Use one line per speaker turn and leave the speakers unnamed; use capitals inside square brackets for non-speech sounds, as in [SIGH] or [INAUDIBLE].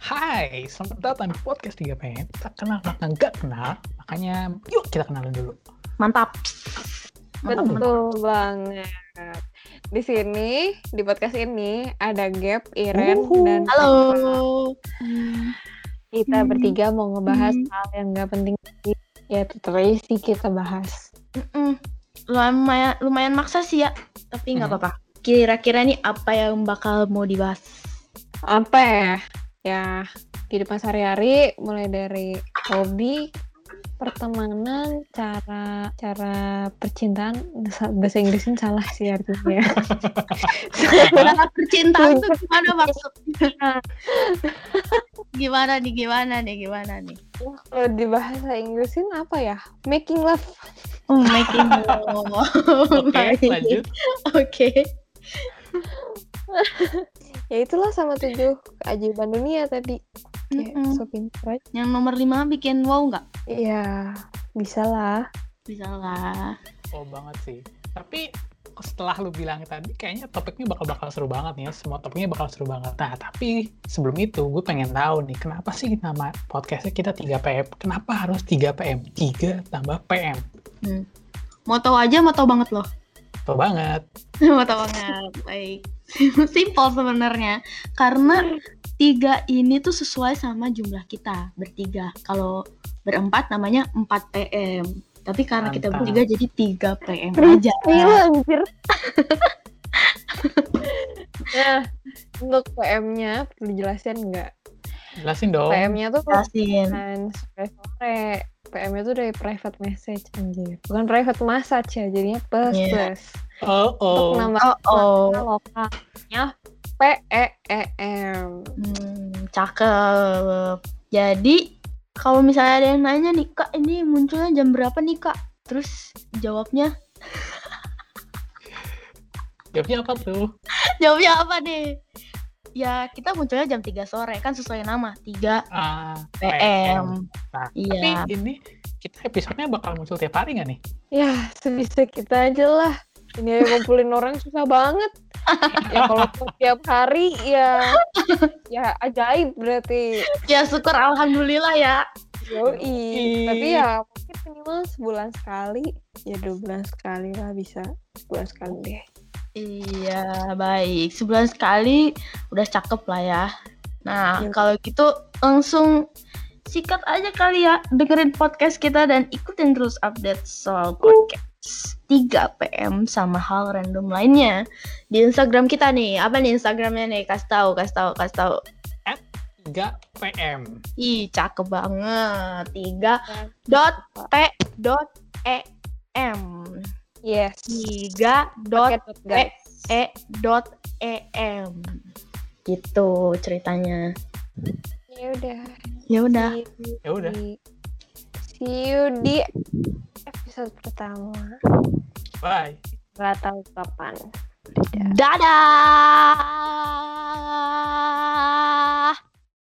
Hai, selamat datang di podcast 3PM. Tak kenal maka nggak kenal, makanya yuk kita kenalan dulu.
Mantap.
Mantap, mantap.
Betul banget. Di sini, di podcast ini, ada Gap, Iren,
Uhu.
dan
Halo.
Eva. Kita
Hmm.
bertiga mau ngebahas
Hmm.
hal yang nggak penting lagi, yaitu tracing kita bahas.
Mm-mm. Lumayan lumayan maksa sih ya, tapi nggak
Hmm.
apa-apa. Kira-kira nih apa yang bakal mau [LAUGHS] dibahas?
Apa ya? Ya, kehidupan sehari-hari, mulai dari hobi, pertemanan, cara cara percintaan, bahasa Inggrisnya salah sih artinya.
Cara percintaan tuh gimana maksudnya? [LAUGHS] gimana nih gimana nih gimana nih?
Kalau di bahasa Inggrisin apa ya? Making love.
Oh, making [LAUGHS] love.
Oke, lanjut.
Oke.
Ya itulah sama tujuh keajaiban dunia tadi. Kayak
Mm-mm.
so pinter aja.
Yang nomor lima bikin wow nggak?
Iya, bisa lah.
Bisa lah.
Oh banget sih. Tapi setelah lu bilang tadi, kayaknya topiknya bakal-bakal seru banget nih ya. Semua topiknya bakal seru banget. Nah, tapi sebelum itu, gue pengen tahu nih, kenapa sih nama podcastnya kita 3PM? Kenapa harus 3PM? 3 tambah PM.
Mau tahu aja, mau tahu banget loh.
Tuh banget.
[LAUGHS] Mau tahu banget. Baik. [LAUGHS] Simple sebenarnya. Karena tiga ini tuh sesuai sama jumlah kita bertiga. Kalau berempat namanya 4 PM. Tapi karena kita
Mantap.
bertiga jadi 3 PM aja.
Iya, anjir. [LAUGHS] nah, untuk PM-nya perlu dijelasin nggak?
Jelasin dong.
PM-nya tuh
Jelasin.
kan sore-sore. PM-nya tuh dari private message anjir. Bukan private massage ya, jadinya plus
Iya.
plus.
Oh, oh.
Untuk nambah
Oh, oh.
makna lokalnya P E E M.
Hmm, cakep. Jadi kalau misalnya ada yang nanya nih, Kak, ini munculnya jam berapa nih, Kak? Terus jawabnya, [LAUGHS]
Jawabnya apa tuh?
jawabnya apa deh? Ya, kita munculnya jam 3 sore kan sesuai nama, 3
Ah,
PM.
Nah,
Iya.
Tapi ini kita episodenya bakal muncul tiap hari nggak nih?
Ya, sebisa kita aja lah. Ini ngumpulin orang susah banget. [LAUGHS] Ya kalau tiap hari ya ya ajaib berarti.
Ya syukur alhamdulillah ya.
Yoi. Tapi ya mungkin minimal sebulan sekali, ya dua bulan sekali lah bisa. Sebulan sekali deh.
Iya, baik. Sebulan sekali udah cakep lah ya. Nah,
Iya.
kalau gitu langsung sikat aja kali ya dengerin podcast kita dan ikutin terus update soal podcast 3 PM sama hal random lainnya di Instagram kita nih. Apa nih Instagramnya nih? Kasih tahu, kasih tahu, kasih tahu.
3 PM.
Ih, cakep banget. 3 dot p dot e m.
Yes.
3 dot e,
Pakai dot, guys.
e.em gitu ceritanya
Ya udah.
ya udah
See you
Ya udah.
di- See you di episode pertama.
Bye.
Iya.
Gak tahu kapan.
dadah